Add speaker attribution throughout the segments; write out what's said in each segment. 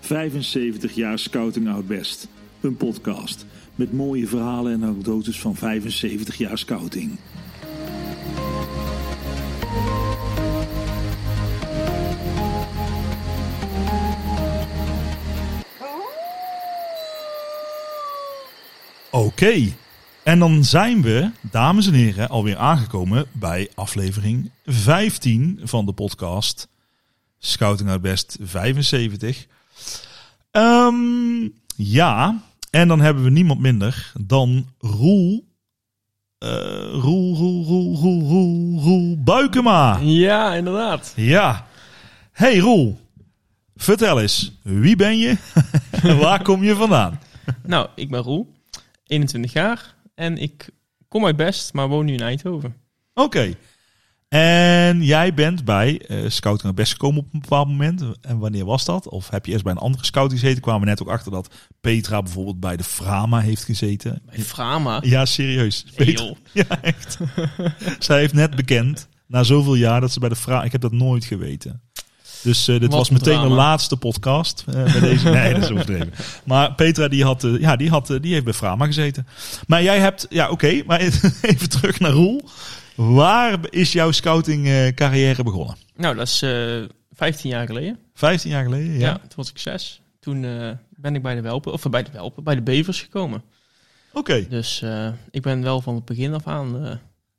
Speaker 1: 75 jaar Scouting Out Best. Een podcast met mooie verhalen en anekdotes van 75 jaar Scouting.
Speaker 2: Oké. En dan zijn we, dames en heren, alweer aangekomen bij aflevering 15 van de podcast Scouting Out Best 75. Ehm, ja, en dan hebben we niemand minder dan Roel. eh, Roel, Roel, Roel, Roel, Roel, Roel Buikema.
Speaker 3: Ja, inderdaad.
Speaker 2: Ja. Hey Roel, vertel eens, wie ben je? Waar kom je vandaan?
Speaker 3: Nou, ik ben Roel, 21 jaar en ik kom uit Best, maar woon nu in Eindhoven.
Speaker 2: Oké. En jij bent bij eh Scouting naar Best gekomen op een bepaald moment. En wanneer was dat? Of heb je eerst bij een andere scouting gezeten? Kwamen we net ook achter dat Petra bijvoorbeeld bij de Frama heeft gezeten.
Speaker 3: Bij Frama.
Speaker 2: Ja, serieus.
Speaker 3: Hey,
Speaker 2: Petra-
Speaker 3: joh.
Speaker 2: Ja, echt. Zij heeft net bekend, na zoveel jaar, dat ze bij de Frama... Ik heb dat nooit geweten. Dus eh, dit
Speaker 3: Wat
Speaker 2: was
Speaker 3: een
Speaker 2: meteen de
Speaker 3: drama.
Speaker 2: laatste podcast. eh, bij deze. Nee, dat is overdreven. Maar Petra, die, had, eh, ja, die, had, eh, die heeft bij Frama gezeten. Maar jij hebt... Ja, oké. maar even terug naar Roel. Waar is jouw scouting eh, carrière begonnen?
Speaker 3: Nou, dat is eh, 15 jaar geleden.
Speaker 2: 15 jaar geleden, ja?
Speaker 3: Ja, toen was ik zes. Toen eh, ben ik bij de Welpen, of eh, bij de Welpen, bij de Bevers gekomen.
Speaker 2: Oké.
Speaker 3: Dus eh, ik ben wel van het begin af aan eh,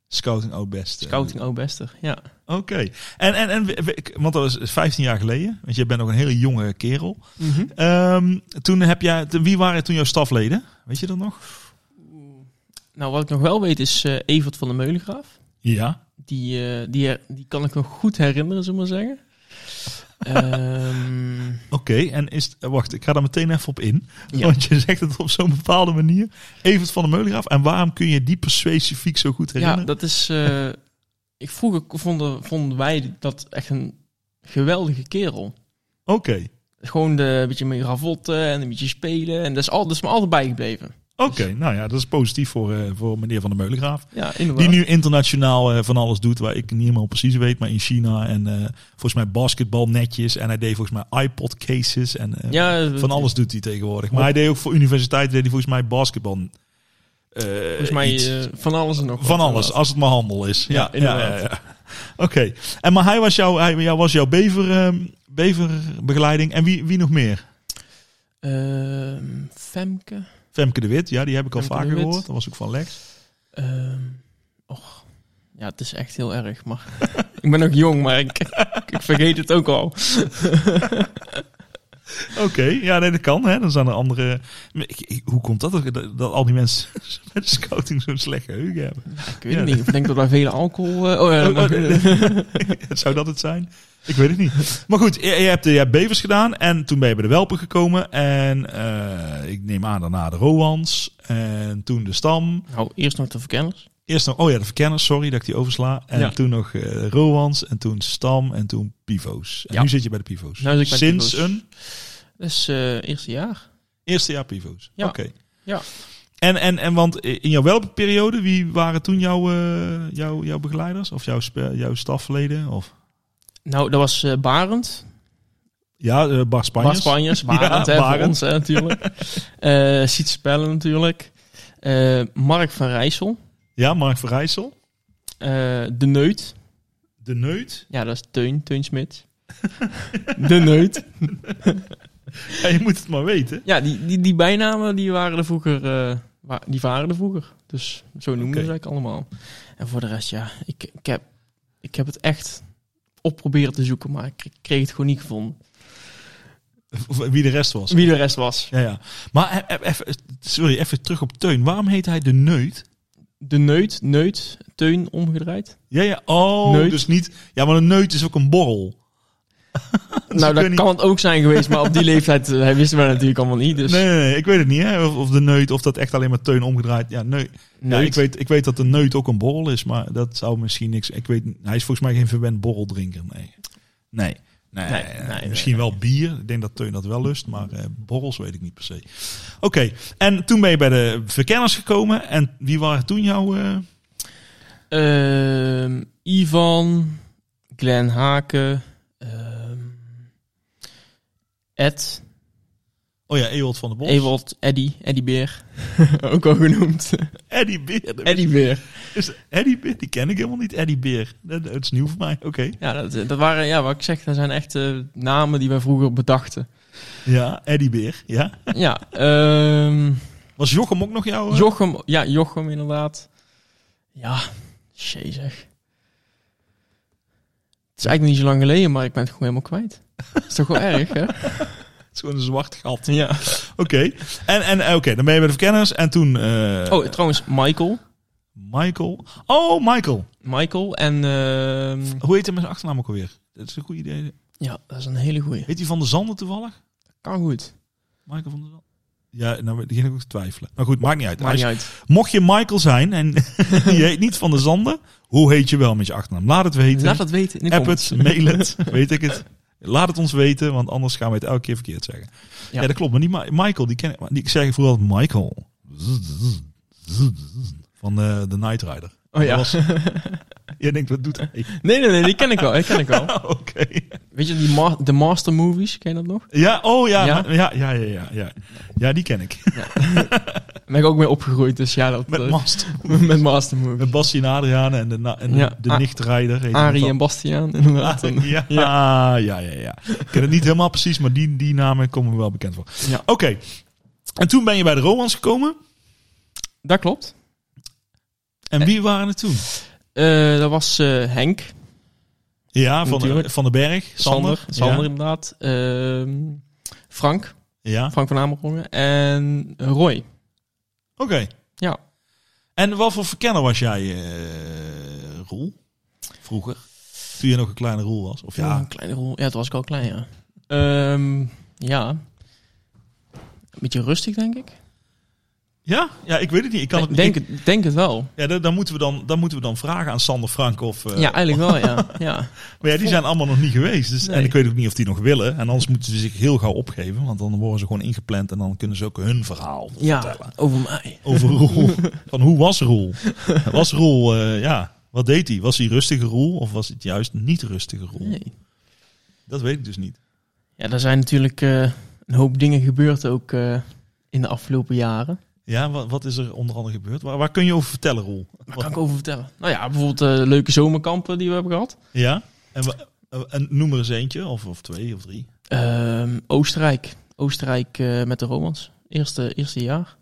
Speaker 2: Scouting Oud Best. eh,
Speaker 3: scouting Oudbester. Ja.
Speaker 2: Oké. En, en, en, we- we- want dat is 15 jaar geleden. Want je bent nog een hele jonge kerel.
Speaker 3: Mhm.
Speaker 2: Ehm, toen heb jij, te- wie waren toen jouw stafleden? Weet je dat nog?
Speaker 3: Nou, wat ik nog wel weet is eh, Evert van de Meulengraaf.
Speaker 2: Ja.
Speaker 3: Die, eh, die, her- die kan ik nog goed herinneren, zullen we maar zeggen. Ehm,
Speaker 2: Oké, en is, eh, wacht, ik ga daar meteen even op in.
Speaker 3: Ja.
Speaker 2: Want je zegt het op zo'n bepaalde manier. Evert van de Meulengraaf. En waarom kun je die specifiek zo goed
Speaker 3: Ja,
Speaker 2: herinneren?
Speaker 3: dat is. eh, ik vroeger vonden, vonden wij dat echt een geweldige kerel.
Speaker 2: Oké.
Speaker 3: Gewoon de, een beetje mee ravotten en een beetje spelen. En dat is, al, dat is me altijd bijgebleven.
Speaker 2: Oké,
Speaker 3: Dus-
Speaker 2: nou ja, dat is positief voor, eh, voor meneer van de Meulengraaf.
Speaker 3: Ja,
Speaker 2: Die
Speaker 3: inderdaad.
Speaker 2: nu internationaal eh, van alles doet waar ik niet helemaal precies weet, maar in China en eh, volgens mij basketbal netjes en hij deed volgens mij iPod cases en eh,
Speaker 3: Ja, eh,
Speaker 2: van alles doet hij tegenwoordig. Maar hij deed ook voor universiteit deed hij volgens mij basketbal. eh,
Speaker 3: Volgens mij
Speaker 2: iets.
Speaker 3: eh, van alles en nog wat,
Speaker 2: van alles,
Speaker 3: inderdaad.
Speaker 2: als het maar handel is. Ja,
Speaker 3: Ja,
Speaker 2: ja, ja,
Speaker 3: inderdaad.
Speaker 2: ja. Oké, en maar hij was jouw, hij, jou was jouw bever, eh, beverbegeleiding en wie, wie nog meer?
Speaker 3: Ehm, Femke.
Speaker 2: Femke de Wit, ja, die heb ik al
Speaker 3: Femke de
Speaker 2: vaker
Speaker 3: Wit.
Speaker 2: gehoord. Dat was ook van Lex.
Speaker 3: ehm, och, ja, het is echt heel erg. Maar ik ben nog jong, maar ik, ik vergeet het ook al.
Speaker 2: Oké, ja, nee, dat kan. Hè. Dan zijn er andere. Maar ik- ik- hoe komt dat, ook, dat dat al die mensen met de scouting zo'n slecht geheugen hebben?
Speaker 3: Ik weet
Speaker 2: Ja.
Speaker 3: het niet. Ik denk dat daar veel alcohol. eh, oh, ja,
Speaker 2: Oh,
Speaker 3: maar-
Speaker 2: Zou dat het zijn? Ik weet het niet. Maar goed, je, je hebt de je hebt bevers gedaan en toen ben je bij de Welpen gekomen. En eh, ik neem aan daarna de Roans en toen de Stam.
Speaker 3: Nou, eerst nog de verkenners.
Speaker 2: Eerst nog, oh ja, de Verkenners, sorry dat ik die oversla. En
Speaker 3: Ja.
Speaker 2: toen nog eh Roans en toen Stam en toen Pivo's. En
Speaker 3: Ja.
Speaker 2: nu zit je bij de Pivo's.
Speaker 3: Nu zit ik bij de
Speaker 2: Sinds
Speaker 3: Pivo's.
Speaker 2: een
Speaker 3: Dat is eh, eerste jaar.
Speaker 2: eerste jaar Pivo's.
Speaker 3: Ja.
Speaker 2: Oké.
Speaker 3: Ja.
Speaker 2: En, en, en want in jouw welpenperiode, wie waren toen jouw, eh, jouw, jouw begeleiders? Of jouw, spe- jouw stafleden? Of?
Speaker 3: Nou, dat was eh, Barend.
Speaker 2: Ja, eh Bart Spanjers.
Speaker 3: Bart Spanjers. Barend,
Speaker 2: Ja,
Speaker 3: hè, voor
Speaker 2: Barend.
Speaker 3: ons hè, natuurlijk. Eh Siet Spellen natuurlijk. Eh, Mark van Rijssel.
Speaker 2: Ja, Mark Verrijssel.
Speaker 3: Eh, de Neut.
Speaker 2: De Neut.
Speaker 3: Ja, dat is Teun. Teun Smit. de Neut.
Speaker 2: Ja, je moet het maar weten.
Speaker 3: Ja, die, die, die bijnamen die waren er vroeger. eh, wa- die waren er vroeger. Dus zo noemden
Speaker 2: Oké.
Speaker 3: ze eigenlijk allemaal. En voor de rest, ja. Ik, ik, heb, ik heb het echt op proberen te zoeken, maar ik kreeg het gewoon niet gevonden.
Speaker 2: Of eh, Wie de rest was.
Speaker 3: Wie de rest was.
Speaker 2: Ja, ja. Maar e- e- even, sorry, even terug op Teun. Waarom heet hij de Neut?
Speaker 3: De Neut. Neut. Teun omgedraaid.
Speaker 2: Ja, ja. Oh,
Speaker 3: Neut.
Speaker 2: dus niet... Ja, maar een neut is ook een borrel. Dus
Speaker 3: nou,
Speaker 2: ik
Speaker 3: dat
Speaker 2: weet niet-
Speaker 3: kan het ook zijn geweest, maar op die leeftijd eh, hij wisten we dat natuurlijk allemaal niet. Dus
Speaker 2: Nee, nee, nee, ik weet het niet. Hè? Of, of de neut, of dat echt alleen maar Teun omgedraaid. Ja, neut.
Speaker 3: Nou,
Speaker 2: ja, ik,
Speaker 3: ik-
Speaker 2: weet, ik weet dat de neut ook een borrel is, maar dat zou misschien niks... Ik weet, hij is volgens mij geen verwend borreldrinker, nee. Nee. Nee,
Speaker 3: Nee,
Speaker 2: eh,
Speaker 3: nee,
Speaker 2: misschien wel bier. Ik denk dat Teun dat wel lust, maar eh, borrels weet ik niet per se. Oké, en toen ben je bij de verkenners gekomen. En wie waren toen jouw... eh,
Speaker 3: ehm, Ivan, Glenn Haken, ehm, Ed,
Speaker 2: Oh ja, Ewold van de Bos.
Speaker 3: Ewald, Eddy, Eddy Beer. Ook al genoemd.
Speaker 2: Eddie Beer. dat
Speaker 3: Eddy Beer.
Speaker 2: Is Eddie Beer, die ken ik helemaal niet. Eddie Beer. Dat, dat is nieuw voor mij. Oké.
Speaker 3: Ja, dat, dat waren, ja, wat ik zeg, dat zijn echt eh, namen die wij vroeger bedachten.
Speaker 2: Ja, Eddie Beer. Ja.
Speaker 3: ja, ehm,
Speaker 2: Was Jochem ook nog jouw... eh?
Speaker 3: Jochem, ja, Jochem inderdaad. Ja, jezig. Het is eigenlijk niet zo lang geleden, maar ik ben het gewoon helemaal kwijt. Dat is toch wel erg, hè?
Speaker 2: Het is gewoon een zwart gat.
Speaker 3: Ja.
Speaker 2: Oké. En, en eh, oké, dan ben je bij de verkenners. En toen... eh,
Speaker 3: Oh, trouwens, Michael.
Speaker 2: Michael. Oh, Michael.
Speaker 3: Michael en... ehm,
Speaker 2: Hoe heet hij met zijn achternaam ook alweer? Dat is een goed idee.
Speaker 3: ja, dat is een hele goeie.
Speaker 2: Heet hij Van der Zanden toevallig?
Speaker 3: Kan goed.
Speaker 2: Michael van der Zanden? Ja, nou begin ik ook te twijfelen. Maar goed, maakt niet uit.
Speaker 3: Maakt niet
Speaker 2: Als-
Speaker 3: uit.
Speaker 2: Mocht je Michael zijn en je heet niet Van der Zanden, hoe heet je wel met je achternaam? Laat het weten.
Speaker 3: Laat dat weten in de
Speaker 2: App
Speaker 3: comments.
Speaker 2: het, mail het, weet ik het. Laat het ons weten, want anders gaan we het elke keer verkeerd zeggen. Ja,
Speaker 3: Ja.
Speaker 2: dat klopt. Maar niet Mi- Michael, die ken ik. maar die- Ik zeg vooral Michael. Van eh, de Night Rider.
Speaker 3: Oh ja.
Speaker 2: Dat was- Jij denkt, wat doet hij?
Speaker 3: Nee, nee, nee, die ken ik wel. Die ken ik wel.
Speaker 2: Oké.
Speaker 3: Weet je, die ma- de Master Movies, ken je dat nog?
Speaker 2: Ja, oh ja,
Speaker 3: Ja?
Speaker 2: maar- ja? Ja, ja, ja, ja. Ja, die ken ik.
Speaker 3: Daar ben ik ook mee opgegroeid, dus ja, dat...
Speaker 2: Met
Speaker 3: eh,
Speaker 2: Mast.
Speaker 3: met Master Movies.
Speaker 2: Met Bassie en Adriaan en de, na- en de-
Speaker 3: Ja.
Speaker 2: de
Speaker 3: A-
Speaker 2: nichtrider. heet
Speaker 3: Arie
Speaker 2: dat
Speaker 3: en Bastiaan, inderdaad.
Speaker 2: dan. ja, ja, ja, ja. Ik ken het niet helemaal precies, maar die, die namen komen me wel bekend voor.
Speaker 3: Ja.
Speaker 2: Oké. En toen ben je bij de Romans gekomen.
Speaker 3: Dat klopt.
Speaker 2: En wie waren het toen?
Speaker 3: Eh, dat was eh, Henk,
Speaker 2: Ja, van, de,
Speaker 3: Natuurlijk.
Speaker 2: van den Berg. Sander.
Speaker 3: Sander, Sander
Speaker 2: Ja.
Speaker 3: inderdaad. Ehm, Frank,
Speaker 2: Ja.
Speaker 3: Frank van Amerongen en Roy.
Speaker 2: Oké.
Speaker 3: Ja.
Speaker 2: En wat voor verkenner was jij, eh Roel? Vroeger? Toen je nog een kleine Roel was? Of
Speaker 3: Ja,
Speaker 2: ja,
Speaker 3: een kleine rol. Ja, het was ik al klein, ja. Ehm, ja. Een beetje rustig, denk ik.
Speaker 2: Ja, ja, ik weet het niet. Ik kan het
Speaker 3: denk,
Speaker 2: ik-
Speaker 3: het, denk het wel.
Speaker 2: Ja, dan, dan moeten we dan, dan moeten we dan vragen aan Sander Frank of. eh,
Speaker 3: ja, eigenlijk wel, ja. ja.
Speaker 2: Maar ja, die zijn allemaal nog niet geweest. Dus, En
Speaker 3: Nee.
Speaker 2: ik weet ook niet of die nog willen. En anders moeten ze zich heel gauw opgeven, want dan worden ze gewoon ingepland en dan kunnen ze ook hun verhaal
Speaker 3: Ja,
Speaker 2: vertellen.
Speaker 3: over mij.
Speaker 2: Over Roel. Van hoe was Roel? Was Roel, eh, ja, wat deed hij? Was hij rustige Roel of was het juist niet rustige Roel?
Speaker 3: Nee.
Speaker 2: Dat weet ik dus niet.
Speaker 3: Ja, er zijn natuurlijk eh, een hoop dingen gebeurd ook eh, in de afgelopen jaren.
Speaker 2: Ja, wat, wat is er onder andere gebeurd? Waar, waar kun je over vertellen, Roel?
Speaker 3: Daar kan ik over vertellen. Nou ja, bijvoorbeeld eh, leuke zomerkampen die we hebben gehad.
Speaker 2: Ja? En, wa- eh, en noem er eens eentje, of, of twee of drie.
Speaker 3: Ehm, Oostenrijk. Oostenrijk eh, met de Romans. Eerste, eerste jaar.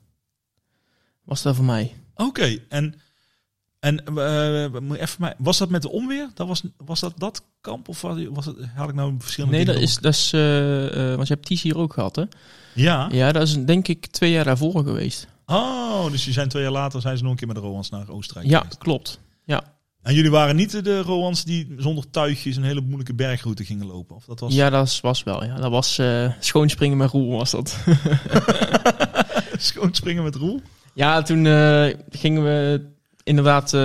Speaker 3: Was dat voor mij?
Speaker 2: Oké, en, en eh, moet je even mij, was dat met de onweer? Dat was, was dat dat kamp of was, was het, had ik nou verschillende
Speaker 3: Nee, dat
Speaker 2: dingen
Speaker 3: is, dat is eh, eh, want je hebt Ties hier ook gehad, hè?
Speaker 2: door- Ja?
Speaker 3: Ja, dat is denk ik twee jaar daarvoor geweest.
Speaker 2: Oh, dus je zijn twee jaar later zijn ze nog een keer met de Roans naar Oostenrijk
Speaker 3: Ja,
Speaker 2: geweest.
Speaker 3: klopt.
Speaker 2: En jullie waren niet de Roans die zonder tuigjes een hele moeilijke bergroute gingen lopen? Of dat was...
Speaker 3: Ja, dat is- was wel. Ja. Dat was eh, schoonspringen met roel was dat.
Speaker 2: Schoon springen met Roel?
Speaker 3: ja, toen eh, gingen we inderdaad... eh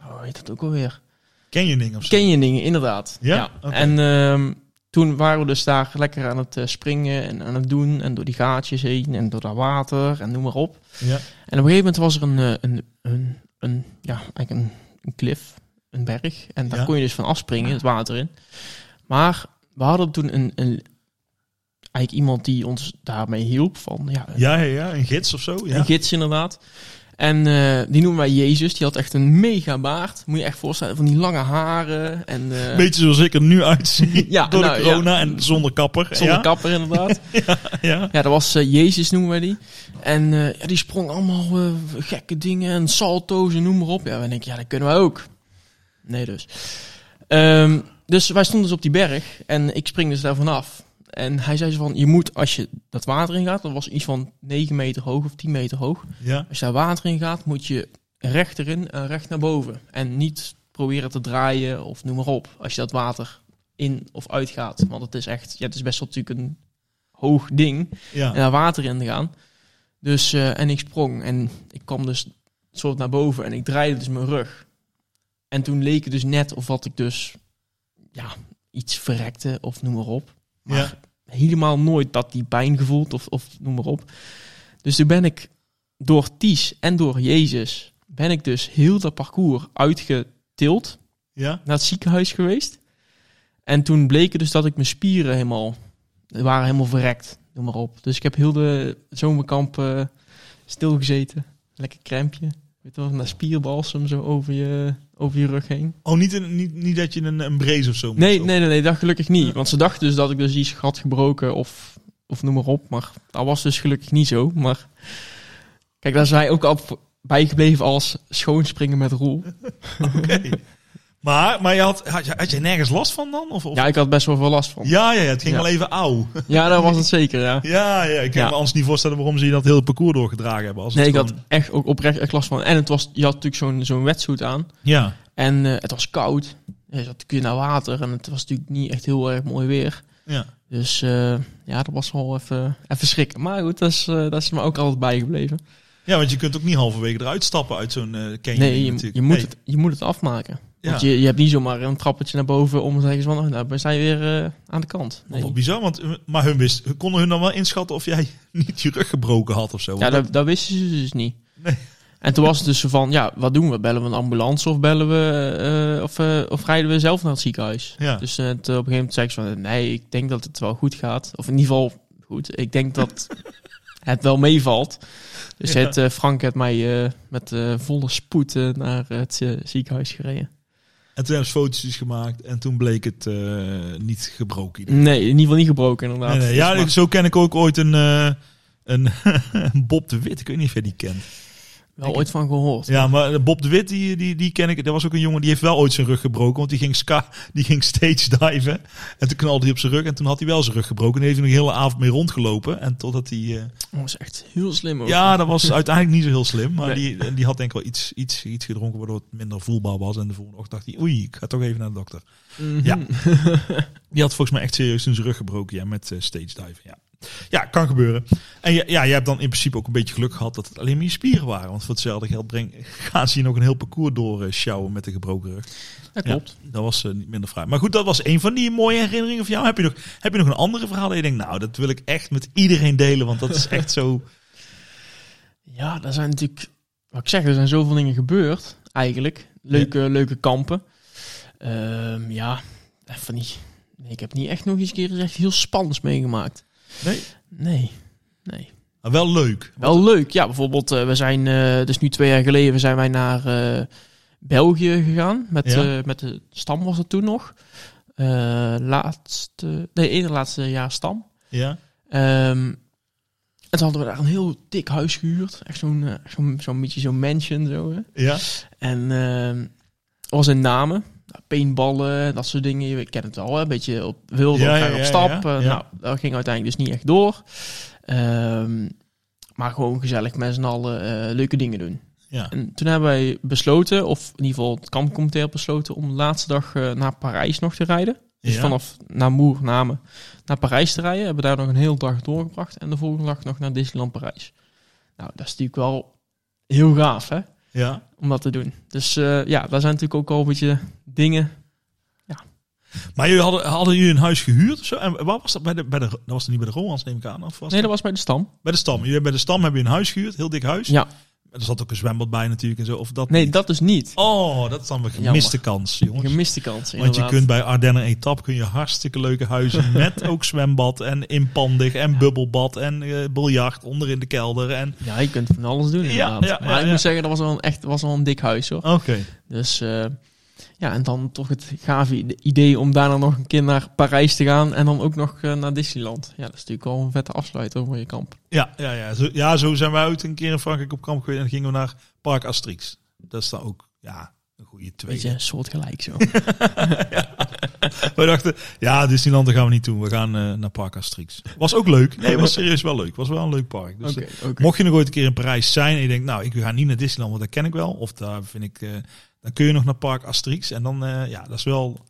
Speaker 3: hoe heet dat ook alweer?
Speaker 2: Ken je ding of zo?
Speaker 3: Canyoning, inderdaad.
Speaker 2: Ja? Oké.
Speaker 3: En ehm, toen waren we dus daar lekker aan het eh, springen en aan het doen. En door die gaatjes heen en door dat water en noem maar op.
Speaker 2: Ja.
Speaker 3: En op een gegeven moment was er een, eh, een, een, een ja, eigenlijk een, een klif, een berg. En daar
Speaker 2: Ja.
Speaker 3: kon je dus van afspringen, het water in. Maar we hadden toen een, een, eigenlijk iemand die ons daarmee hielp. Van, ja,
Speaker 2: Ja, ja, ja, een gids of zo. Ja.
Speaker 3: een gids inderdaad. En eh, die noemen wij Jezus. Die had echt een mega baard. Moet je echt voorstellen, van die lange haren. En, eh,
Speaker 2: Beetje zoals ik er nu uitzie.
Speaker 3: Ja,
Speaker 2: door
Speaker 3: nou,
Speaker 2: de
Speaker 3: ja.
Speaker 2: corona en zonder kapper.
Speaker 3: Zonder
Speaker 2: ja?
Speaker 3: kapper inderdaad.
Speaker 2: Ja.
Speaker 3: ja, dat was eh, Jezus noemen wij die. En eh, ja, die sprong allemaal eh, gekke dingen en salto's en noem maar op. Ja, we denken, ja, dat kunnen wij ook. Nee dus. Ehm, dus wij stonden dus op die berg en ik spring dus daar vanaf. En hij zei zo van, je moet als je dat water in gaat, dat was iets van 9 meter hoog of 10 meter hoog.
Speaker 2: ja.
Speaker 3: Als je daar water in gaat, moet je recht erin en recht naar boven. En niet proberen te draaien of noem maar op. Als je dat water in of uit gaat. Want het is echt, ja, het is best wel natuurlijk een hoog ding.
Speaker 2: ja.
Speaker 3: En daar water in te gaan. Dus, eh, en ik sprong en ik kwam dus soort naar boven en ik draaide dus mijn rug. En toen leek het dus net of wat ik dus, ja, iets verrekte of noem maar op. Maar
Speaker 2: Ja.
Speaker 3: helemaal nooit dat die pijn gevoeld of, of noem maar op. Dus toen ben ik door Ties en door Jezus, ben ik dus heel dat parcours uitgetild
Speaker 2: Ja.
Speaker 3: naar het ziekenhuis geweest. En toen bleek het dus dat ik mijn spieren helemaal, waren helemaal verrekt. noem maar op. Dus ik heb heel de zomerkamp eh, stilgezeten. Lekker krempje. Weet je wel, naar spierbalsem zo over je, over je rug heen.
Speaker 2: Oh, niet, een, niet, niet dat je een, een brace of zo moet
Speaker 3: Nee,
Speaker 2: zo.
Speaker 3: nee, nee, nee, dat gelukkig niet. Want ze dachten dus dat ik dus iets had gebroken of, of noem maar op. Maar dat was dus gelukkig niet zo. Maar kijk, daar zijn wij ook al bijgebleven als schoonspringen met roel.
Speaker 2: Oké. Maar, maar je had, had, je, had je nergens last van dan? Of, of?
Speaker 3: Ja, ik had best wel veel last van.
Speaker 2: ja, ja, ja, het ging
Speaker 3: Ja.
Speaker 2: wel even auw.
Speaker 3: Ja, dat was het zeker, ja.
Speaker 2: Ja, ja, ik kan
Speaker 3: Ja.
Speaker 2: me anders niet voorstellen waarom ze je dat hele parcours doorgedragen hebben. Als het
Speaker 3: Nee, ik had
Speaker 2: gewoon-
Speaker 3: echt ook oprecht echt last van. En het was, je had natuurlijk zo'n zo'n wetsuit aan.
Speaker 2: Ja,
Speaker 3: En eh, het was koud. Je zat kun je naar water. En het was natuurlijk niet echt heel erg mooi weer.
Speaker 2: ja.
Speaker 3: Dus eh, ja, dat was wel even, even schrikken. Maar goed, dat is, eh, dat is me ook altijd bijgebleven.
Speaker 2: ja, want je kunt ook niet halverwege eruit stappen uit zo'n eh canyon
Speaker 3: Nee, je,
Speaker 2: natuurlijk.
Speaker 3: je, moet
Speaker 2: Nee.
Speaker 3: het, je moet het afmaken.
Speaker 2: Ja.
Speaker 3: Want je, je hebt niet zomaar een trappetje naar boven om te zeggen van... oh, nou, we zijn weer eh, aan de kant.
Speaker 2: Wat wel
Speaker 3: Nee.
Speaker 2: bizar, want, eh, maar hun wist, konden hun dan wel inschatten of jij niet je rug gebroken had of zo?
Speaker 3: Ja,
Speaker 2: Want
Speaker 3: dat, dat wisten ze dus niet.
Speaker 2: Nee.
Speaker 3: En toen was het dus zo van, ja, wat doen we? Bellen we een ambulance of bellen we... eh, of, eh, of rijden we zelf naar het ziekenhuis?
Speaker 2: Ja.
Speaker 3: Dus eh, toen op een gegeven moment zei ik zo van... Nee, ik denk dat het wel goed gaat. Of in ieder geval goed. Ik denk dat het wel meevalt. Dus
Speaker 2: Ja.
Speaker 3: heeft, eh, Frank heeft mij eh, met eh, volle spoed eh, naar het eh, ziekenhuis gereden.
Speaker 2: En toen hebben ze foto's gemaakt en toen bleek het eh, niet gebroken.
Speaker 3: Nee, in ieder geval niet gebroken inderdaad.
Speaker 2: Nee, nee,
Speaker 3: Dus
Speaker 2: ja,
Speaker 3: Mm, maar-
Speaker 2: ik- zo ken ik ook ooit een, eh, een Bob de Wit. Ik weet niet of jij die kent.
Speaker 3: Wel ooit van gehoord.
Speaker 2: Ja, maar eh, Bob de Wit, die, die, die ken ik. Er was ook een jongen die heeft wel ooit zijn rug gebroken. Want die ging, ska, die ging stage diven. En toen knalde hij op zijn rug. En toen had hij wel zijn rug gebroken. En daar heeft hij nog een hele avond mee rondgelopen. En totdat hij. eh,
Speaker 3: Dat was echt heel slim ook.
Speaker 2: ja, dat was uiteindelijk niet zo heel slim. Maar
Speaker 3: Nee.
Speaker 2: die, en die had denk ik wel iets, iets, iets gedronken. Waardoor het minder voelbaar was. En de volgende ochtend dacht hij: oei, ik ga toch even naar de dokter.
Speaker 3: Mhm.
Speaker 2: ja. Die had volgens mij echt serieus toen zijn rug gebroken, ja, met eh, stage diving. Ja. ja, kan gebeuren. En ja, ja, je hebt dan in principe ook een beetje geluk gehad dat het alleen maar je spieren waren. Want voor hetzelfde geld breng, gaan ze je nog een heel parcours door eh, sjouwen met de gebroken rug.
Speaker 3: Dat klopt.
Speaker 2: Ja, dat was eh, niet minder fraai. Maar goed, dat was een van die mooie herinneringen van jou. Heb je nog, heb je nog een andere verhaal dat je denkt, nou, dat wil ik echt met iedereen delen. Want dat is echt zo...
Speaker 3: Ja, daar zijn natuurlijk, wat ik zeg, er zijn zoveel dingen gebeurd eigenlijk. Leuke, leuke kampen. Ehm, ja, even niet. Nee, ik heb niet echt nog eens een keer eens echt heel spannends meegemaakt.
Speaker 2: Nee?
Speaker 3: Nee, nee.
Speaker 2: Maar wel leuk.
Speaker 3: Wel leuk. Ja, bijvoorbeeld, eh, we zijn, eh, dus nu twee jaar geleden, zijn wij naar eh, België gegaan. Met,
Speaker 2: Ja.
Speaker 3: eh, met de stam was het toen nog. Eh, laatste, nee, eerder laatste jaar stam.
Speaker 2: Ja.
Speaker 3: Ehm, en toen hadden we daar een heel dik huis gehuurd. Echt zo'n eh, zo'n zo'n beetje zo'n mansion. Zo, hè.
Speaker 2: Ja.
Speaker 3: En ehm was in Namen. Nou, Paintballen, dat soort dingen. Je kent het al, hè? een beetje op wilde
Speaker 2: Ja,
Speaker 3: elkaar
Speaker 2: ja,
Speaker 3: op
Speaker 2: ja,
Speaker 3: stap.
Speaker 2: ja,
Speaker 3: Eh,
Speaker 2: ja.
Speaker 3: Nou, dat ging uiteindelijk dus niet echt door. Ehm, maar gewoon gezellig met z'n allen eh, leuke dingen doen.
Speaker 2: Ja.
Speaker 3: En toen hebben wij besloten, of in ieder geval het kampcomité had besloten... om de laatste dag eh, naar Parijs nog te rijden. Dus
Speaker 2: Ja.
Speaker 3: vanaf Namour, Namen, naar Parijs te rijden. Hebben daar nog een hele dag doorgebracht. En de volgende dag nog naar Disneyland Parijs. Nou, dat is natuurlijk wel heel gaaf, hè?
Speaker 2: ja.
Speaker 3: Om dat te doen. Dus eh, ja, daar zijn natuurlijk ook al een beetje dingen.
Speaker 2: Maar jullie hadden, hadden jullie een huis gehuurd of zo? En waar was dat? Bij de, bij de, dat was er niet bij de Romans, neem ik aan. Of was
Speaker 3: Nee, dat was bij de stam.
Speaker 2: Bij de stam. Jullie hebben bij de stam hebben je een huis gehuurd, heel dik huis.
Speaker 3: Ja.
Speaker 2: Er zat ook een zwembad bij natuurlijk en zo. Of dat
Speaker 3: Nee,
Speaker 2: niet?
Speaker 3: dat dus niet.
Speaker 2: Oh, dat is dan een gemiste kans, jongens.
Speaker 3: Gemiste kans,
Speaker 2: Want je
Speaker 3: inderdaad.
Speaker 2: kunt bij Ardennen Etap kun je hartstikke leuke huizen met ook zwembad en inpandig en bubbelbad en eh, biljart onder in de kelder. En...
Speaker 3: Ja, je kunt van alles doen, inderdaad.
Speaker 2: ja,
Speaker 3: maar
Speaker 2: ja,
Speaker 3: ik
Speaker 2: ja.
Speaker 3: moet zeggen, dat was wel een, echt was wel een dik huis, hoor.
Speaker 2: Oké.
Speaker 3: Dus eh, ja, en dan toch het gave i- idee om daarna nog een keer naar Parijs te gaan. En dan ook nog eh, naar Disneyland. Ja, dat is natuurlijk wel een vette afsluiter voor je kamp.
Speaker 2: Ja, ja, ja. Zo, ja, zo zijn wij ooit een keer in Frankrijk op kamp geweest en gingen we naar Park Astrix. Dat is dan ook ja, een goede tweede.
Speaker 3: Beetje een soort gelijk zo. Dus,
Speaker 2: We dachten, ja, Disneyland daar gaan we niet toe. We gaan eh, naar Park Astrix. Was ook leuk. Nee, was serieus wel leuk. Was wel een leuk park. Dus,
Speaker 3: Oké,
Speaker 2: eh,
Speaker 3: oké.
Speaker 2: Mocht je nog ooit een keer in Parijs zijn en je denkt, nou, ik ga niet naar Disneyland, want dat ken ik wel. Of daar vind ik, eh, dan kun je nog naar Park Astrix. En dan, eh, ja, dat is wel,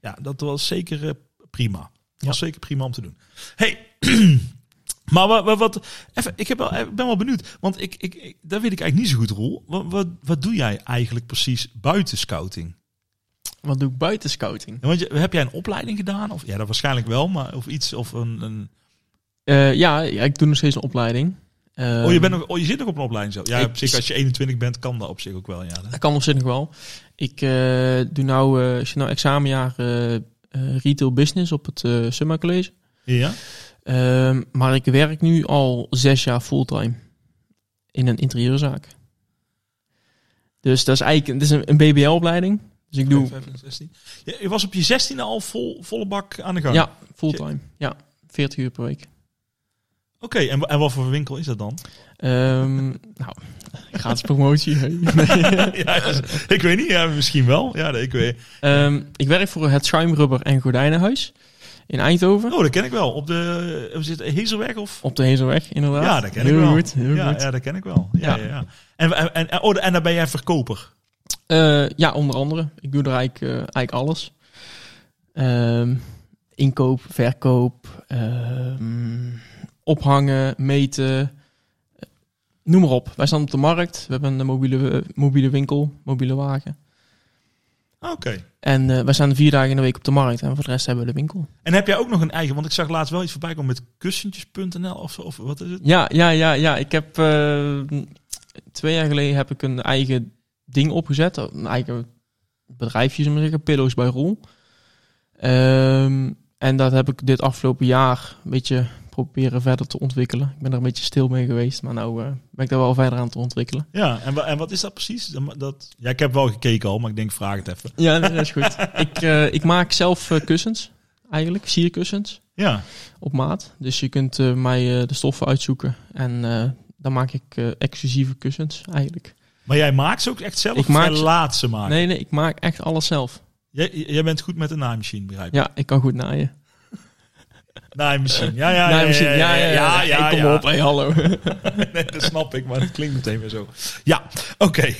Speaker 2: ja, dat was zeker eh, prima. Dat was zeker prima om te doen. Hey, maar wat, wat, wat- even, ik heb wel, ik ben wel benieuwd, want ik, ik, ik, dat weet ik eigenlijk niet zo goed, Roel. Wat, wat, wat doe jij eigenlijk precies buiten scouting?
Speaker 3: Wat doe ik buiten scouting?
Speaker 2: Ja, Want je, heb jij een opleiding gedaan? Of, ja, dat waarschijnlijk wel, maar of iets. Of een, een,
Speaker 3: Eh, ja, ja, ik doe nog steeds een opleiding. Eh,
Speaker 2: oh, je bent nog, oh, je zit nog op een opleiding zo. Ja,
Speaker 3: ik-
Speaker 2: op zich, als je 21 bent, kan dat op zich ook wel. Ja, hè?
Speaker 3: Dat kan op zich nog wel. Ik eh, doe nou, eh, ik zit nou examenjaar eh, eh, retail business op het eh, Summa College.
Speaker 2: ja?
Speaker 3: Eh, Ehm, maar ik werk nu al zes jaar fulltime in een interieurzaak. Dus dat is eigenlijk het is een, een BBL-opleiding. Dus ik doe
Speaker 2: 15, 16. Ja, je was op je 16 al vol, volle bak aan de gang.
Speaker 3: ja, fulltime. Ja, 40 uur per week.
Speaker 2: Oké, en, wa- en wat voor winkel is dat dan?
Speaker 3: Ehm, nou, gratis promotie. hè. Nee.
Speaker 2: ja, dus, ik weet niet, ja, misschien wel. Ja, nee, ik weet.
Speaker 3: Ehm, ik werk voor het Schuimrubber en Gordijnenhuis in Eindhoven.
Speaker 2: Oh, dat ken ik wel. Op de eh, zit Hezelweg of?
Speaker 3: Op de Hezelweg, inderdaad.
Speaker 2: Ja, dat ken
Speaker 3: heel
Speaker 2: ik wel.
Speaker 3: Goed, heel
Speaker 2: ja,
Speaker 3: goed.
Speaker 2: ja, dat ken ik wel. Ja, ja.
Speaker 3: Ja.
Speaker 2: ja. En, en, en, oh, en dan ben jij verkoper.
Speaker 3: Eh, ja, onder andere. Ik doe er eigenlijk, eh, eigenlijk alles. Ehm, inkoop, verkoop, ehm, ophangen, meten. eh, Noem maar op. Wij staan op de markt. We hebben een mobiele, eh, mobiele winkel, mobiele wagen.
Speaker 2: Ah, Oké.
Speaker 3: En eh, wij staan vier dagen in de week op de markt. En voor de rest hebben we de winkel.
Speaker 2: En heb jij ook nog een eigen? Want ik zag laatst wel iets voorbij komen met kussentjes.nl of zo. Of wat is het?
Speaker 3: Ja, ja, ja, ja. Ik heb eh, twee jaar geleden heb ik een eigen ding opgezet. Een eigen bedrijfje, zullen we zeggen. Pillows bij Roel. Ehm, en dat heb ik dit afgelopen jaar een beetje proberen verder te ontwikkelen. Ik ben er een beetje stil mee geweest, maar nou eh, ben ik daar wel verder aan het ontwikkelen.
Speaker 2: Ja, en, wa- en wat is dat precies? Dat, dat, ja, ik heb wel gekeken al, maar ik denk, vraag het even.
Speaker 3: Ja, dat is goed. ik, eh, ik maak zelf eh, kussens, eigenlijk. Sierkussens
Speaker 2: Ja,
Speaker 3: op maat. Dus je kunt eh, mij eh, de stoffen uitzoeken. En eh, dan maak ik eh, exclusieve kussens, eigenlijk.
Speaker 2: maar jij maakt ze ook echt zelf?
Speaker 3: Ik
Speaker 2: of jij
Speaker 3: maak ze-
Speaker 2: laat ze maken?
Speaker 3: Nee, nee, ik maak echt alles zelf.
Speaker 2: Jij, jij bent goed met de naaimachine, begrijp ik?
Speaker 3: Ja, ik kan goed naaien.
Speaker 2: Naaimachine, ja, ja,
Speaker 3: Naaien misschien. Ja, ja, ja.
Speaker 2: ja,
Speaker 3: Hey, kom
Speaker 2: ja.
Speaker 3: op, hey, hallo.
Speaker 2: Nee, dat snap ik, maar het klinkt meteen weer zo. Ja, oké.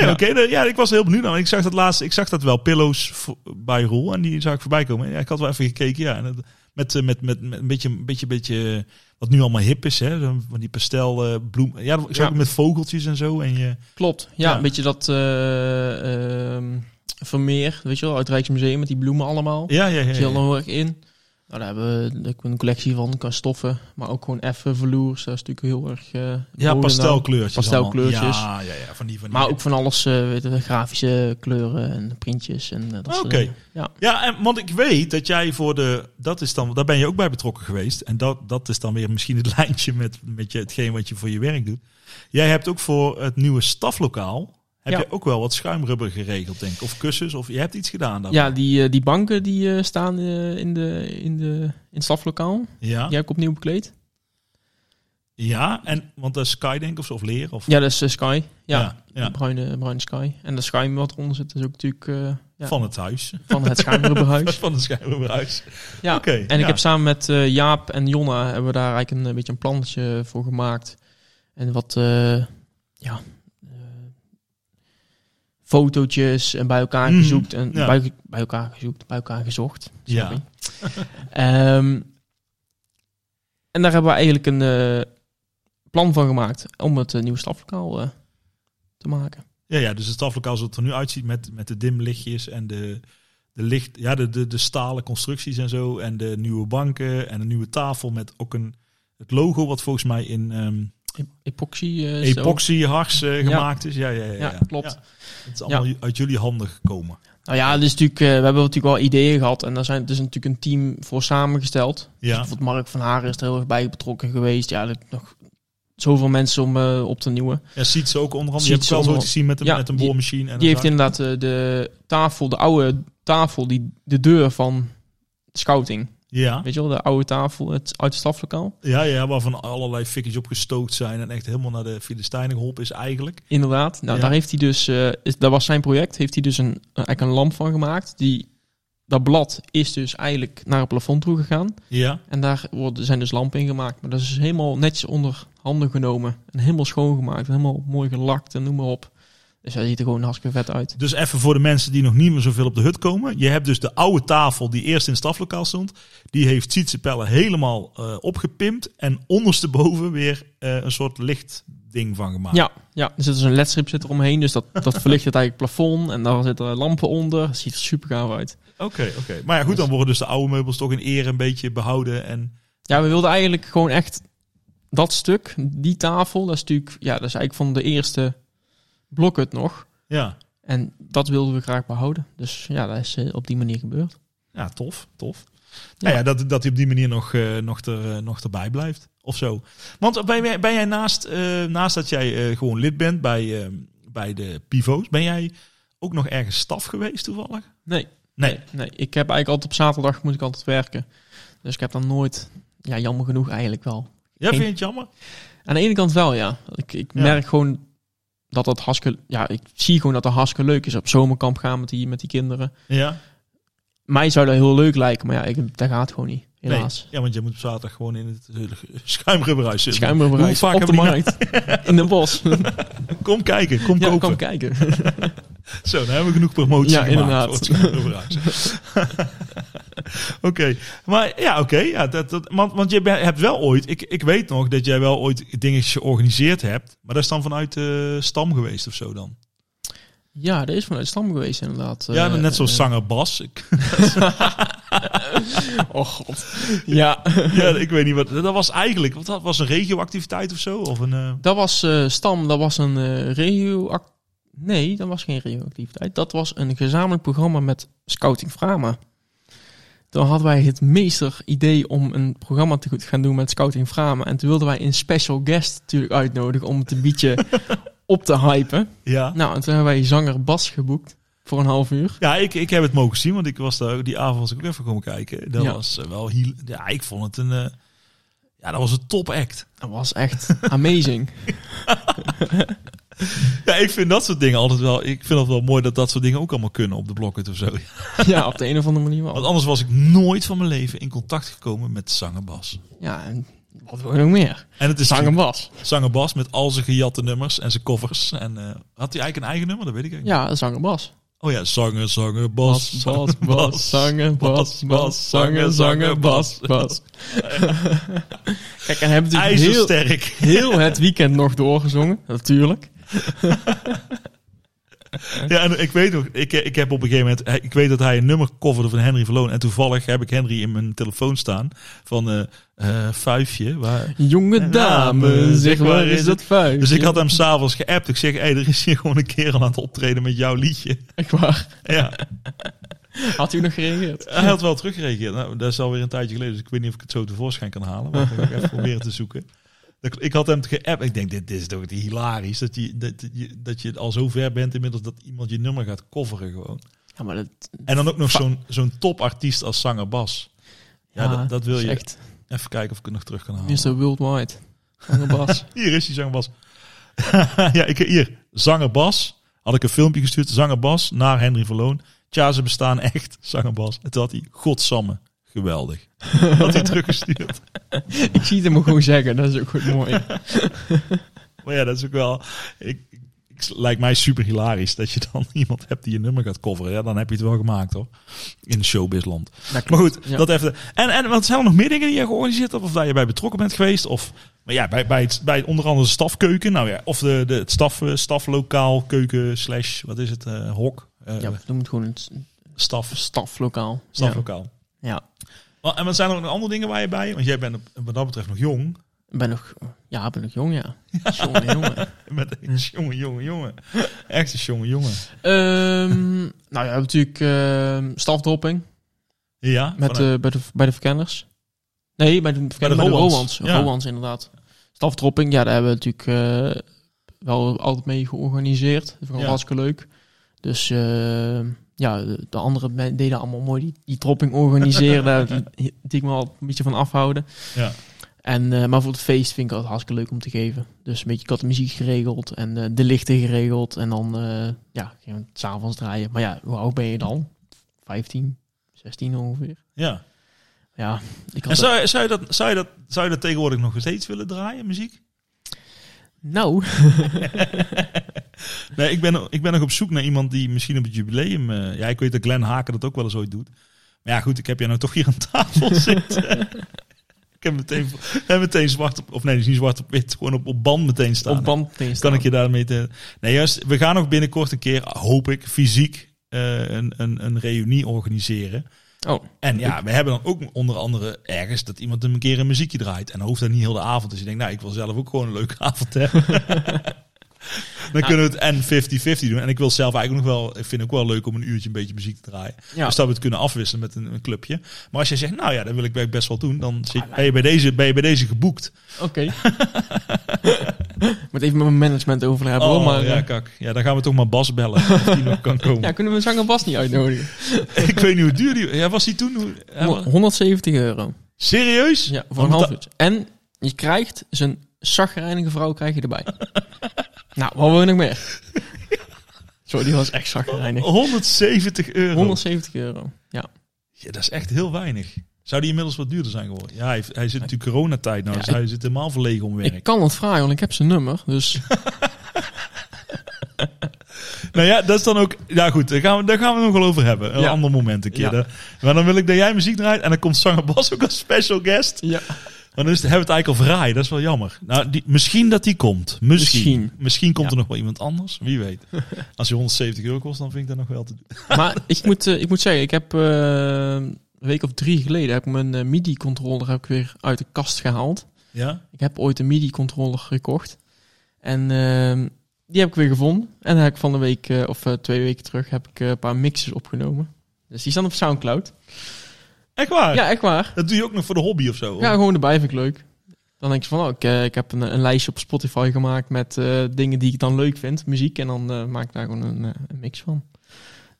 Speaker 2: ja, oké. Nou, ja, ik was er heel benieuwd naar. Ik zag dat laatst, ik zag dat wel, Pillows vo- bij Roel. En die zag ik voorbij komen. Ja, ik had wel even gekeken, ja. En dat- met, eh, met, met, met een beetje, een beetje, beetje, eh, wat nu allemaal hip is, hè. Zo Van die pastel eh, bloem. Ja, ik zag
Speaker 3: Ja.
Speaker 2: ook met vogeltjes en zo. En je,
Speaker 3: Klopt. Ja,
Speaker 2: Ja.
Speaker 3: een beetje dat eh, ehm, Vermeer, weet je wel, uit het Rijksmuseum met die bloemen allemaal.
Speaker 2: ja, ja, ja.
Speaker 3: Dat
Speaker 2: ja,
Speaker 3: is heel erg in. Nou, daar hebben we ook een collectie van, qua stoffen, maar ook gewoon effen verloers. Dat is natuurlijk heel erg... eh,
Speaker 2: Ja,
Speaker 3: bovenaan.
Speaker 2: pastelkleurtjes.
Speaker 3: Pastelkleurtjes.
Speaker 2: allemaal. Ja, ja, ja. Van die, van die
Speaker 3: Maar ook van alles, eh, weet je, grafische kleuren en printjes en eh, dat soort
Speaker 2: Oké.
Speaker 3: dingen. Ja.
Speaker 2: Ja, en, want ik weet dat jij voor de. Dat is dan, daar ben je ook bij betrokken geweest. En dat, dat is dan weer misschien het lijntje met, met je, hetgeen wat je voor je werk doet. Jij hebt ook voor het nieuwe staflokaal. Heb
Speaker 3: Ja.
Speaker 2: je ook wel wat schuimrubber geregeld, denk ik? Of kussens, of je hebt iets gedaan dan?
Speaker 3: Ja, die, eh, die banken die eh, staan eh, in, de, in, de, in het staflokaal.
Speaker 2: Ja,
Speaker 3: Die heb ik opnieuw bekleed.
Speaker 2: Ja, en, want dat is Sky, denk ik, of, zo, of leer. Of,
Speaker 3: Ja, dat is eh, Sky. Ja,
Speaker 2: Ja, ja.
Speaker 3: Bruine, bruine Sky. En dat schuim wat eronder zit is ook natuurlijk eh, ja, van.
Speaker 2: Van het huis.
Speaker 3: het schuimrubberhuis.
Speaker 2: Van het schuimrubberhuis.
Speaker 3: ja.
Speaker 2: Oké,
Speaker 3: en ik
Speaker 2: ja.
Speaker 3: heb samen met eh, Jaap en Jonna hebben we daar eigenlijk een, eh, beetje een plannetje voor gemaakt. En wat, eh, ja, eh, fotootjes en bij elkaar
Speaker 2: Mhm,
Speaker 3: gezoekt. En
Speaker 2: ja.
Speaker 3: bij, bij elkaar gezoekt, bij elkaar gezocht.
Speaker 2: Ja.
Speaker 3: Sorry. Ehm, en daar hebben we eigenlijk een eh, plan van gemaakt om het eh, nieuwe staflokaal eh, te maken.
Speaker 2: Ja, ja, dus het staflokaal zoals het er nu uitziet met, met de dimlichtjes en de, de, licht, ja, de, de, de stalen constructies en zo. En de nieuwe banken en een nieuwe tafel met ook een, het logo wat volgens mij in ehm,
Speaker 3: E- Epoxy. eh, zo.
Speaker 2: epoxy hars eh, gemaakt is. Ja, ja, ja, ja,
Speaker 3: Ja, klopt.
Speaker 2: Het is allemaal uit jullie handen gekomen.
Speaker 3: Nou ja, dus natuurlijk, eh, we hebben natuurlijk wel ideeën gehad. En daar zijn, dus natuurlijk een team voor samengesteld.
Speaker 2: Ja,
Speaker 3: Bijvoorbeeld Mark van Haren is er heel erg bij betrokken geweest. Ja, er nog zoveel mensen om eh, op te nieuwen.
Speaker 2: ja ziet ze ook onder andere. Je
Speaker 3: Ziet
Speaker 2: hebt
Speaker 3: ze
Speaker 2: wel
Speaker 3: onder-
Speaker 2: zoiets gezien met een,
Speaker 3: Ja,
Speaker 2: met een
Speaker 3: die-
Speaker 2: boormachine. En
Speaker 3: Die
Speaker 2: een
Speaker 3: heeft inderdaad eh, de tafel, de oude tafel, die, de deur van scouting.
Speaker 2: ja,
Speaker 3: Weet je wel, de oude tafel het, uit het staflokaal.
Speaker 2: ja, ja, waarvan allerlei fikjes opgestookt zijn en echt helemaal naar de Filistijnen geholpen is eigenlijk.
Speaker 3: Inderdaad. Nou,
Speaker 2: Ja.
Speaker 3: daar heeft hij dus, eh, is, dat was zijn project, heeft hij dus een, eigenlijk een lamp van gemaakt. Die, dat blad is dus eigenlijk naar het plafond toe gegaan.
Speaker 2: Ja,
Speaker 3: En daar worden, zijn dus lampen in gemaakt. Maar dat is helemaal netjes onder handen genomen. En helemaal schoongemaakt. En helemaal mooi gelakt en noem maar op. Dus hij ziet er gewoon hartstikke vet uit.
Speaker 2: Dus even voor de mensen die nog niet meer zoveel op de hut komen. Je hebt dus de oude tafel die eerst in het staflokaal stond. Die heeft Sietse Pelle helemaal eh, opgepimpt. En ondersteboven weer eh, een soort lichtding van gemaakt.
Speaker 3: Ja, ja, er zit dus een ledstrip zit er omheen. Dus dat, dat verlicht het eigenlijk plafond. En daar zitten lampen onder. Het ziet er super gaaf uit.
Speaker 2: Oké, oké. Maar ja, goed, dan worden dus de oude meubels toch in eer een beetje behouden. En
Speaker 3: Ja, we wilden eigenlijk gewoon echt dat stuk, die tafel. Dat is natuurlijk, ja, dat is eigenlijk van de eerste blokhut nog.
Speaker 2: ja,
Speaker 3: En dat wilden we graag behouden. Dus ja, dat is eh, op die manier gebeurd.
Speaker 2: ja tof, tof. Nou ja, dat, dat hij op die manier nog, eh, nog, er, eh, nog erbij blijft. Of zo. Want ben jij, ben jij naast, eh, naast dat jij eh, gewoon lid bent bij, eh, bij de Pivo's, ben jij ook nog ergens staf geweest toevallig?
Speaker 3: Nee.
Speaker 2: Nee.
Speaker 3: Nee, nee. ik heb eigenlijk altijd op zaterdag moet ik altijd werken. Dus ik heb dan nooit, ja, jammer genoeg eigenlijk wel.
Speaker 2: Ja, vind je het jammer?
Speaker 3: Aan de ene kant wel, ja. Ik, ik
Speaker 2: Ja.
Speaker 3: merk gewoon dat dat hartstikke, ja, ik zie gewoon dat dat hartstikke leuk is. Op zomerkamp gaan met die, met die kinderen.
Speaker 2: Ja.
Speaker 3: Mij zou dat heel leuk lijken, maar ja, ik, dat gaat gewoon niet, helaas.
Speaker 2: Nee. Ja, want je moet op zaterdag gewoon in het eh, schuimgebruis zitten. Dus Hoe
Speaker 3: Schuimbereis,
Speaker 2: vaak
Speaker 3: op de
Speaker 2: hebben we die
Speaker 3: markt, in de bos.
Speaker 2: nou- Kom kijken, kom
Speaker 3: ja,
Speaker 2: kopen.
Speaker 3: kom kijken.
Speaker 2: Zo, dan hebben we genoeg promotie
Speaker 3: Ja,
Speaker 2: gemaakt.
Speaker 3: inderdaad.
Speaker 2: voor het schuimgebruis. oké, maar ja, oké. ja, dat, dat, want, want je ben- hebt wel ooit, ik, ik weet nog dat jij wel ooit dingen georganiseerd hebt, maar dat is dan vanuit de stam geweest of zo dan.
Speaker 3: Ja, dat is vanuit Stam geweest inderdaad.
Speaker 2: ja,
Speaker 3: Eh,
Speaker 2: net zoals
Speaker 3: eh,
Speaker 2: zanger Bas. Ik,
Speaker 3: Oh god. Ja,
Speaker 2: ja, ik weet niet wat, dat was eigenlijk, want dat was een regioactiviteit of zo? Of een, eh,
Speaker 3: dat was eh, Stam, dat was een eh regio... Nee, dat was geen regioactiviteit. Dat was een gezamenlijk programma met Scouting Frama. Dan hadden wij het meester idee om een programma te goed gaan doen met Scouting Frama. En toen wilden wij een special guest natuurlijk uitnodigen om het een beetje op te hypen.
Speaker 2: ja.
Speaker 3: Nou, en toen hebben wij zanger Bas geboekt voor een half uur.
Speaker 2: Ja, ik, ik heb het mogen zien, want ik was daar ook- die avond was ik ook even komen kijken. Dat
Speaker 3: Ja.
Speaker 2: was eh, wel heel, ja, ik vond het een, eh, ja, dat was een top act.
Speaker 3: Dat was echt amazing.
Speaker 2: Ja, ik vind dat soort dingen altijd wel, ik vind het wel mooi dat dat soort dingen ook allemaal kunnen op de blokken of zo.
Speaker 3: Oh. ja, op de een of andere manier wel.
Speaker 2: Want anders was ik nooit van mijn leven in contact gekomen met Zanger Bas.
Speaker 3: Ja, en wat wil je nog meer?
Speaker 2: En het is
Speaker 3: Zanger Bas.
Speaker 2: Zanger Bas met al zijn gejatte nummers en zijn covers. En eh, had hij eigenlijk een eigen nummer? Dat weet ik eigenlijk
Speaker 3: Ja, Zanger Bas.
Speaker 2: niet. Oh ja, Zanger, Zanger Bas.
Speaker 3: Bas,
Speaker 2: zanger,
Speaker 3: Bas, Bas, Zanger, Bas, Bas, Zanger, Zanger, Bas, Bas. Kijk, en hebben we natuurlijk heel,
Speaker 2: IJzersterk.
Speaker 3: heel het weekend nog doorgezongen, natuurlijk.
Speaker 2: Ja, en ik weet nog, ik, ik heb op een gegeven moment, hij- ik weet dat hij een nummer coverde van Henry Verloon. En toevallig heb ik Henry in mijn telefoon staan van eh eh, Fuifje. Waar,
Speaker 3: Jonge dame, zeg waar is dat vuist?
Speaker 2: dus ik had hem s'avonds geappt. Ik zeg, hé, hey, er is hier gewoon een kerel aan het optreden met jouw liedje.
Speaker 3: Echt waar.
Speaker 2: Ja,
Speaker 3: Had u nog gereageerd?
Speaker 2: hij had wel teruggereageerd. Nou, dat is alweer een tijdje geleden, dus ik weet niet of ik het zo tevoorschijn kan halen. Maar ik ga even proberen te zoeken. Dat- Ik had hem geappt. Ik denk, dit, dit is toch hilarisch. Dat je, dat, je, dat je al zo ver bent inmiddels dat iemand je nummer gaat coveren gewoon.
Speaker 3: Ja, maar dat,
Speaker 2: En dan ook nog zo'n zo'n topartiest als zanger Bas. Ja, dat, dat wil
Speaker 3: is
Speaker 2: je.
Speaker 3: Echt,
Speaker 2: Even kijken of ik het nog terug kan halen.
Speaker 3: Oh. Mr. Worldwide. Zanger Bas.
Speaker 2: Hier is die zanger Bas. ja, ik, hier. Zanger Bas. Had ik een filmpje gestuurd. Zanger Bas naar Henry Verloon. Tja, ze bestaan echt. Zanger Bas. En toen had hij, godsamme, geweldig. had hij teruggestuurd.
Speaker 3: ik zie het hem gewoon zeggen, dat is ook goed mooi.
Speaker 2: Maar ja, dat is ook wel... Ik, ik, lijkt mij super hilarisch dat je dan iemand hebt die je nummer gaat coveren. Ja, dan heb je het wel gemaakt hoor. In showbizland.
Speaker 3: Dat
Speaker 2: Maar goed,
Speaker 3: Ja.
Speaker 2: dat even. En, en wat zijn er nog meer dingen die je georganiseerd hebt? Of daar je bij betrokken bent geweest? Of maar ja, bij, bij, het, bij het onder andere de stafkeuken. Nou ja, of de, de, het staf, eh, staflokaal, keuken, slash, wat is het, eh, hok? eh,
Speaker 3: Ja, noem het gewoon het
Speaker 2: Staf,
Speaker 3: staflokaal. Ja.
Speaker 2: staflokaal.
Speaker 3: ja.
Speaker 2: Wel, En wat zijn er nog andere dingen waar je bij? Want jij bent op- wat dat betreft nog jong.
Speaker 3: Ik ben nog, ja, ik ben nog jong, ja. Jongen, jongen.
Speaker 2: Met een jonge, jonge, jongen. Echt een jonge, jongen.
Speaker 3: Ehm, nou ja, we hebben natuurlijk ehm stafdropping
Speaker 2: Ja,
Speaker 3: met,
Speaker 2: vanuit-
Speaker 3: eh, bij, de, bij de verkenners. Nee, bij de, verkenners, bij de,
Speaker 2: Rowands,
Speaker 3: Rowands.
Speaker 2: ja.
Speaker 3: Rowands, inderdaad. Stafdropping, ja, daar hebben we natuurlijk eh, wel altijd mee georganiseerd. Dat vond ik
Speaker 2: Ja.
Speaker 3: hartstikke leuk. Dus ehm, ja, de, de anderen me- deden allemaal mooi die, die dropping organiseren. daar die ik me al een beetje van afhouden.
Speaker 2: Ja.
Speaker 3: En, eh, maar voor het feest vind ik het hartstikke leuk om te geven. Dus een beetje ik had de muziek geregeld en eh, de lichten geregeld. En dan eh ja, gingen we het s'avonds draaien. Maar ja, hoe oud ben je dan? 15, 16 ongeveer.
Speaker 2: ja.
Speaker 3: Ja, ik had
Speaker 2: En
Speaker 3: dat-
Speaker 2: zou, zou, je dat, zou, je dat, zou je dat tegenwoordig nog steeds willen draaien, muziek?
Speaker 3: Nou,
Speaker 2: Nee, ik ben, ik ben nog op zoek naar iemand die misschien op het jubileum... eh, ja, ik weet dat Glenn Haken dat ook wel eens ooit doet. Maar ja, goed, ik heb jij nou toch hier aan tafel zitten. ik heb meteen, heb meteen zwart op... Of nee, dus niet zwart op wit, gewoon op, op band meteen staan.
Speaker 3: op band meteen
Speaker 2: kan
Speaker 3: staan.
Speaker 2: ik je daarmee... Te, nee, juist, we gaan nog binnenkort een keer, hoop ik, fysiek eh, een, een, een reunie organiseren.
Speaker 3: Oh,
Speaker 2: En ja, we hebben dan ook onder andere ergens dat iemand een keer een muziekje draait. En dan hoeft dat niet heel de avond. Dus je denkt, nou, ik wil zelf ook gewoon een leuke avond hebben. Dan kunnen we het en 50-50 doen. En ik wil zelf eigenlijk nog wel, ik vind ook wel leuk om een uurtje een beetje muziek te draaien.
Speaker 3: Ja.
Speaker 2: Dus dat we het kunnen afwisselen met een, een clubje. Maar als jij zegt, nou ja, dat wil ik best wel doen, dan zit,
Speaker 3: Ah,
Speaker 2: ben, je bij deze, ben je bij deze geboekt.
Speaker 3: Oké. Moet even met mijn management over hebben hoor.
Speaker 2: Oh,
Speaker 3: Maar,
Speaker 2: ja,
Speaker 3: eh,
Speaker 2: kak. Ja, dan gaan we toch maar Bas bellen. of die nog kan komen.
Speaker 3: ja, kunnen we zanger Bas niet uitnodigen?
Speaker 2: ik weet niet hoe duur die... Ja, was die toen? Hoe, ja,
Speaker 3: Hond- 170 euro.
Speaker 2: serieus?
Speaker 3: Ja, voor
Speaker 2: Want
Speaker 3: een half
Speaker 2: dat-
Speaker 3: uurtje. En je krijgt zijn zagrijnige vrouw krijg je erbij. nou, wat wil je nog meer? Sorry, die was echt
Speaker 2: Oh,
Speaker 3: zagrijnig.
Speaker 2: 170 euro.
Speaker 3: 170 euro. Ja.
Speaker 2: Ja, dat is echt heel weinig. Zou die inmiddels wat duurder zijn geworden? Ja, hij, heeft- hij zit natuurlijk coronatijd nou.
Speaker 3: Ja,
Speaker 2: dus
Speaker 3: ik-
Speaker 2: hij zit helemaal verlegen om werk.
Speaker 3: Ik kan het vragen, want ik heb zijn nummer. Dus
Speaker 2: Nou ja, dat is dan ook... Ja goed, daar gaan we, daar gaan we het nog wel over hebben. Een
Speaker 3: Ja.
Speaker 2: ander moment een keer.
Speaker 3: Ja.
Speaker 2: Daar- Maar dan wil ik dat jij muziek draait. En dan komt zanger Bas ook als special guest.
Speaker 3: ja.
Speaker 2: Maar dan is het, hebben we het eigenlijk al verraaid. Dat is wel jammer. Nou, die, misschien dat die komt. Misschien. Misschien,
Speaker 3: Misschien.
Speaker 2: komt er nog wel iemand anders. Wie weet. Als je 170 euro kost, dan vind ik dat nog wel te doen.
Speaker 3: Maar ik moet, eh, ik moet zeggen, ik heb eh, een week of drie geleden heb ik mijn eh, MIDI-controller heb ik weer uit de kast gehaald.
Speaker 2: Ja?
Speaker 3: Ik heb ooit een MIDI-controller gekocht. En ehm, die heb ik weer gevonden. En daar heb ik van de week, eh, of eh, twee weken terug, heb ik eh, een paar mixes opgenomen. Dus die staan op Soundcloud.
Speaker 2: Echt waar?
Speaker 3: Ja, echt waar.
Speaker 2: Dat doe je ook nog voor de hobby of zo? hoor.
Speaker 3: Ja, gewoon erbij vind ik leuk. Dan denk je van, oh, ik, eh, ik heb een, een lijstje op Spotify gemaakt met eh, dingen die ik dan leuk vind, muziek. En dan eh, maak ik daar gewoon een, eh, een mix van.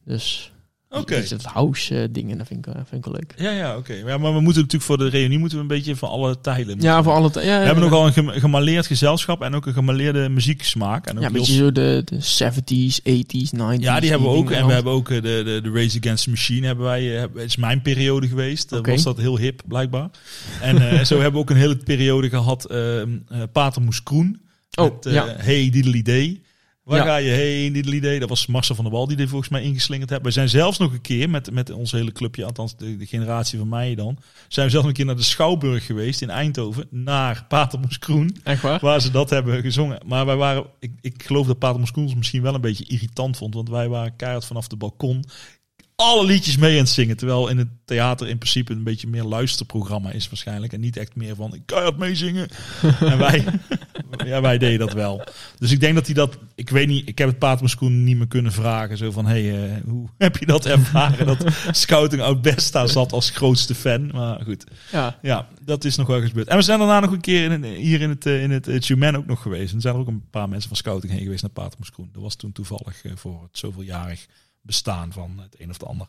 Speaker 3: Dus
Speaker 2: Oké.
Speaker 3: dus dat house eh, dingen, dat vind ik, eh, vind ik wel leuk.
Speaker 2: Ja, ja, oké. Ja, maar we moeten natuurlijk voor de reunie moeten we een beetje van alle tijden.
Speaker 3: Ja, voor alle... t- Ja,
Speaker 2: We hebben nogal een gem- gemaleerd gezelschap en ook een gemaleerde muzieksmaak. En ook
Speaker 3: Ja, een
Speaker 2: heel-
Speaker 3: beetje zo de, de 70s, 80s, 90s.
Speaker 2: ja, die hebben we ook. En we
Speaker 3: dingen.
Speaker 2: hebben ook eh, de, de, de Race Against the Machine. Hebben wij, eh, heb- het is mijn periode geweest. Dan
Speaker 3: Oké.
Speaker 2: was dat heel hip, blijkbaar. En eh, zo hebben we ook een hele periode gehad. eh eh, Pater Moes Kroen.
Speaker 3: Oh,
Speaker 2: met, eh,
Speaker 3: ja.
Speaker 2: Hey Diddly Day. Waar
Speaker 3: Ja.
Speaker 2: ga je heen, Diddly Day? Dat was Marcel van der Wal die dit volgens mij ingeslingerd heeft. We zijn zelfs nog een keer met, met ons hele clubje, althans de, de generatie van mij dan, zijn we zelfs nog een keer naar de Schouwburg geweest in Eindhoven, naar Pater Moes Kroen.
Speaker 3: Echt waar?
Speaker 2: Waar ze dat hebben gezongen. Maar wij waren, ik, ik geloof dat Pater Moskoens misschien wel een beetje irritant vond. Want wij waren keihard vanaf de balkon alle liedjes mee aan het zingen. Terwijl in het theater in principe een beetje meer luisterprogramma is waarschijnlijk. En niet echt meer van, ik keihard meezingen. en wij, ja, wij deden dat wel. Dus ik denk dat hij dat, ik weet niet, ik heb het Pater Moskoen niet meer kunnen vragen. Zo van, hey, eh, hoe heb je dat ervaren? dat Scouting Out Besta zat als grootste fan. Maar goed.
Speaker 3: Ja.
Speaker 2: Ja, dat is nog wel gebeurd. En we zijn daarna nog een keer in, hier in het, eh, in het eh, Tumen ook nog geweest. En er zijn er ook een paar mensen van scouting heen geweest naar Patermoeskroen. Dat was toen toevallig eh, voor het zoveeljarig bestaan van het een of het ander.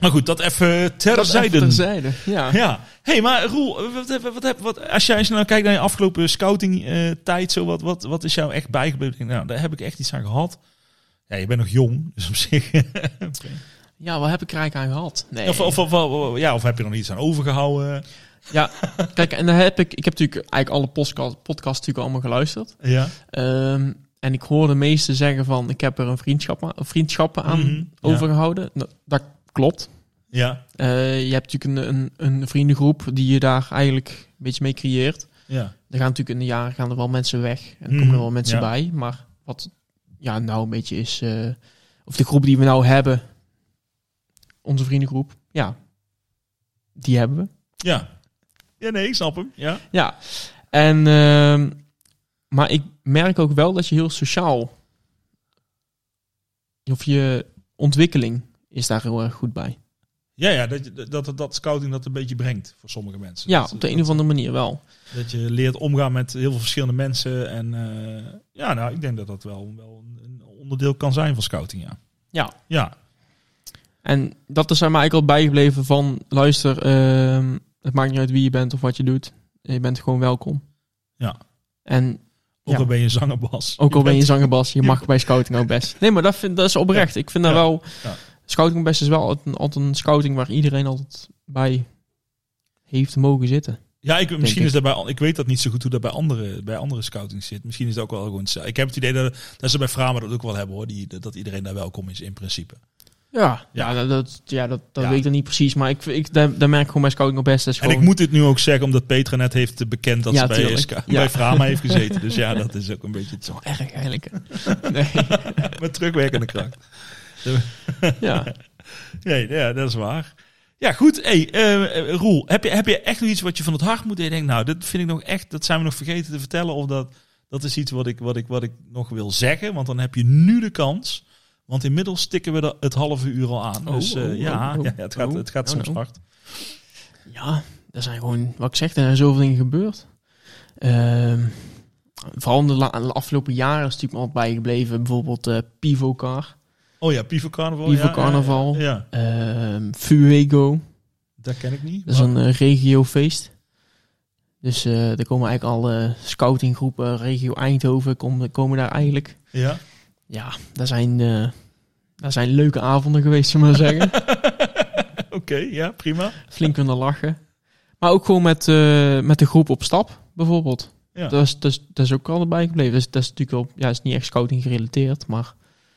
Speaker 2: Maar goed, dat even terzijde.
Speaker 3: Terzijde, ja.
Speaker 2: Ja, hey, maar Roel, eh, wat, heb- wat, heb- wat, als jij eens nou kijkt naar je afgelopen scouting eh, tijd, zo, wat, wat, wat is jou echt bijgebleven? Ik denk, Nou, daar heb ik echt iets aan gehad. Ja, je bent nog jong, dus op zich.
Speaker 3: Ja, waar heb ik er eigenlijk aan gehad? Nee.
Speaker 2: of, of, of, of- ja, of heb je er nog iets aan overgehouden?
Speaker 3: Ja, kijk, en daar heb ik... Ik heb natuurlijk eigenlijk alle podcast, podcasts natuurlijk allemaal geluisterd.
Speaker 2: Ja.
Speaker 3: Ehm, en ik hoor de meesten zeggen van... Ik heb er een vriendschap aan, vriendschappen aan
Speaker 2: Mhm, ja.
Speaker 3: overgehouden. Nou, Dat klopt.
Speaker 2: Ja.
Speaker 3: Eh, je hebt natuurlijk een, een, een vriendengroep die je daar eigenlijk een beetje mee creëert.
Speaker 2: Ja.
Speaker 3: Er gaan natuurlijk in de jaren gaan er wel mensen weg. En er
Speaker 2: Mhm,
Speaker 3: komen er wel mensen
Speaker 2: ja.
Speaker 3: bij. Maar wat ja, nou een beetje is... eh, of de groep die we nou hebben... Onze vriendengroep. Ja. Die hebben we.
Speaker 2: Ja. Ja, nee, ik snap hem. Ja.
Speaker 3: Ja. En... ehm, maar ik merk ook wel dat je heel sociaal... Of je ontwikkeling is daar heel erg goed bij.
Speaker 2: Ja, ja dat, je- dat, dat, dat scouting dat een beetje brengt voor sommige mensen.
Speaker 3: Ja,
Speaker 2: dat,
Speaker 3: op de een of andere manier wel.
Speaker 2: dat je leert omgaan met heel veel verschillende mensen. En eh, ja, nou, ik denk dat dat wel, wel een- een onderdeel kan zijn van scouting, ja.
Speaker 3: Ja.
Speaker 2: Ja,
Speaker 3: En dat is aan mij eigenlijk al bijgebleven van... Luister, ehm, het maakt niet uit wie je bent of wat je doet. Je bent gewoon welkom.
Speaker 2: Ja.
Speaker 3: En
Speaker 2: ook
Speaker 3: Ja.
Speaker 2: al ben je zanger Bas.
Speaker 3: Ook al ben je
Speaker 2: bent-
Speaker 3: zangerbas, je mag bij scouting ook best. Nee, maar dat, vind, dat is oprecht. Ik vind dat
Speaker 2: Ja.
Speaker 3: wel...
Speaker 2: Ja.
Speaker 3: Scouting best is wel altijd een, altijd een scouting waar iedereen altijd bij heeft mogen zitten.
Speaker 2: Ja, ik, misschien
Speaker 3: ik.
Speaker 2: is dat bij... an- Ik weet dat niet zo goed hoe dat bij andere, bij andere scouting zit. Misschien is dat ook wel gewoon... hetzelfde. Ik heb het idee dat, dat ze bij Framer dat ook wel hebben, hoor. Die, dat- dat iedereen daar welkom is, in principe.
Speaker 3: Ja,
Speaker 2: Ja.
Speaker 3: ja. dat, dat- ja, dat, dat
Speaker 2: Ja.
Speaker 3: weet ik dan niet precies. Maar ik, ik, daar, daar merk ik gewoon bij scouting ook best. Dat is
Speaker 2: En ik
Speaker 3: gewoon-
Speaker 2: moet dit nu ook zeggen, omdat Petra net heeft bekend dat
Speaker 3: Ja,
Speaker 2: ze bij,
Speaker 3: tuurlijk.
Speaker 2: SK,
Speaker 3: Ja.
Speaker 2: bij Frama heeft gezeten. Dus ja, dat is ook een beetje...
Speaker 3: Zo erg eigenlijk. nee,
Speaker 2: Met terugwerkende kracht.
Speaker 3: ja.
Speaker 2: Nee, ja, dat is waar. Ja, goed. Hey, eh, eh, Roel, heb je, heb je echt nog iets wat je van het hart moet? En je denkt, nou, dat vind ik nog echt, dat zijn we nog vergeten te vertellen. Of dat, Dat is iets wat ik, wat, ik, wat ik nog wil zeggen, want dan heb je nu de kans. Want inmiddels tikken we de- het halve uur al aan.
Speaker 3: Oh,
Speaker 2: dus eh,
Speaker 3: oh, oh,
Speaker 2: ja,
Speaker 3: oh,
Speaker 2: ja, het gaat,
Speaker 3: oh.
Speaker 2: het gaat
Speaker 3: Oh,
Speaker 2: soms
Speaker 3: no.
Speaker 2: hard.
Speaker 3: Ja, er zijn gewoon, wat ik zeg, er zijn zoveel dingen gebeurd. Ehm, vooral in de, la- de afgelopen jaren is natuurlijk me altijd bijgebleven. Bijvoorbeeld eh Pivo Car,
Speaker 2: Oh ja, Pivo Carnaval.
Speaker 3: Pivo
Speaker 2: ja, ja,
Speaker 3: Carnaval,
Speaker 2: Ja, ja.
Speaker 3: ehm, Fuego.
Speaker 2: dat ken ik niet.
Speaker 3: Dat is
Speaker 2: maar-
Speaker 3: een eh, regiofeest. Dus eh er komen eigenlijk al eh, scoutinggroepen, regio Eindhoven, komen, komen daar eigenlijk.
Speaker 2: ja.
Speaker 3: Ja, daar zijn, eh, daar zijn leuke avonden geweest, zullen we maar zeggen.
Speaker 2: Oké, ja, prima.
Speaker 3: flink kunnen lachen. Maar ook gewoon met, eh, met de groep op stap, bijvoorbeeld.
Speaker 2: Ja.
Speaker 3: Dat, is, dat, is, dat is ook al erbij gebleven. Dus dat is natuurlijk wel, ja, is niet echt scouting gerelateerd, maar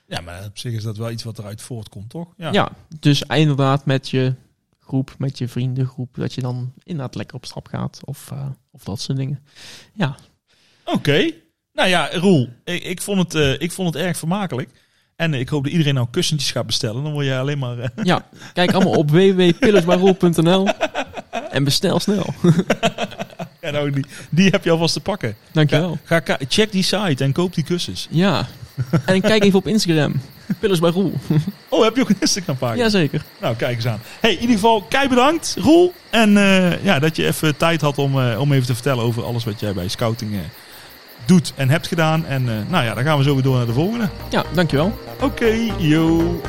Speaker 2: Ja, maar op zich is dat wel iets wat eruit voortkomt, toch?
Speaker 3: ja. Dus inderdaad met je groep, met je vriendengroep, dat je dan inderdaad lekker op stap gaat of, eh, of dat soort dingen.
Speaker 2: Oké. Nou ja, Roel, ik, ik, vond het, eh, ik vond het erg vermakelijk. En eh, ik hoop dat iedereen nou kussentjes gaat bestellen. Dan word je alleen maar... eh,
Speaker 3: Ja, kijk allemaal op www.pillersbarrel.nl en bestel snel.
Speaker 2: ja, nou, die, die heb je alvast te pakken.
Speaker 3: Dankjewel.
Speaker 2: Ga, ka- check die site en koop die kussens.
Speaker 3: Ja. En kijk even op Instagram. Pillars by Roel.
Speaker 2: Oh, heb je ook een Instagram pagina?
Speaker 3: Jazeker.
Speaker 2: Nou, kijk eens aan. Hey, in ieder geval, kei bedankt, Roel. En eh, ja, dat je even tijd had om, eh, om even te vertellen over alles wat jij bij scouting eh, doet en hebt gedaan. En eh, nou ja, dan gaan we zo weer door naar de volgende.
Speaker 3: Ja, dankjewel.
Speaker 2: Oké, yo.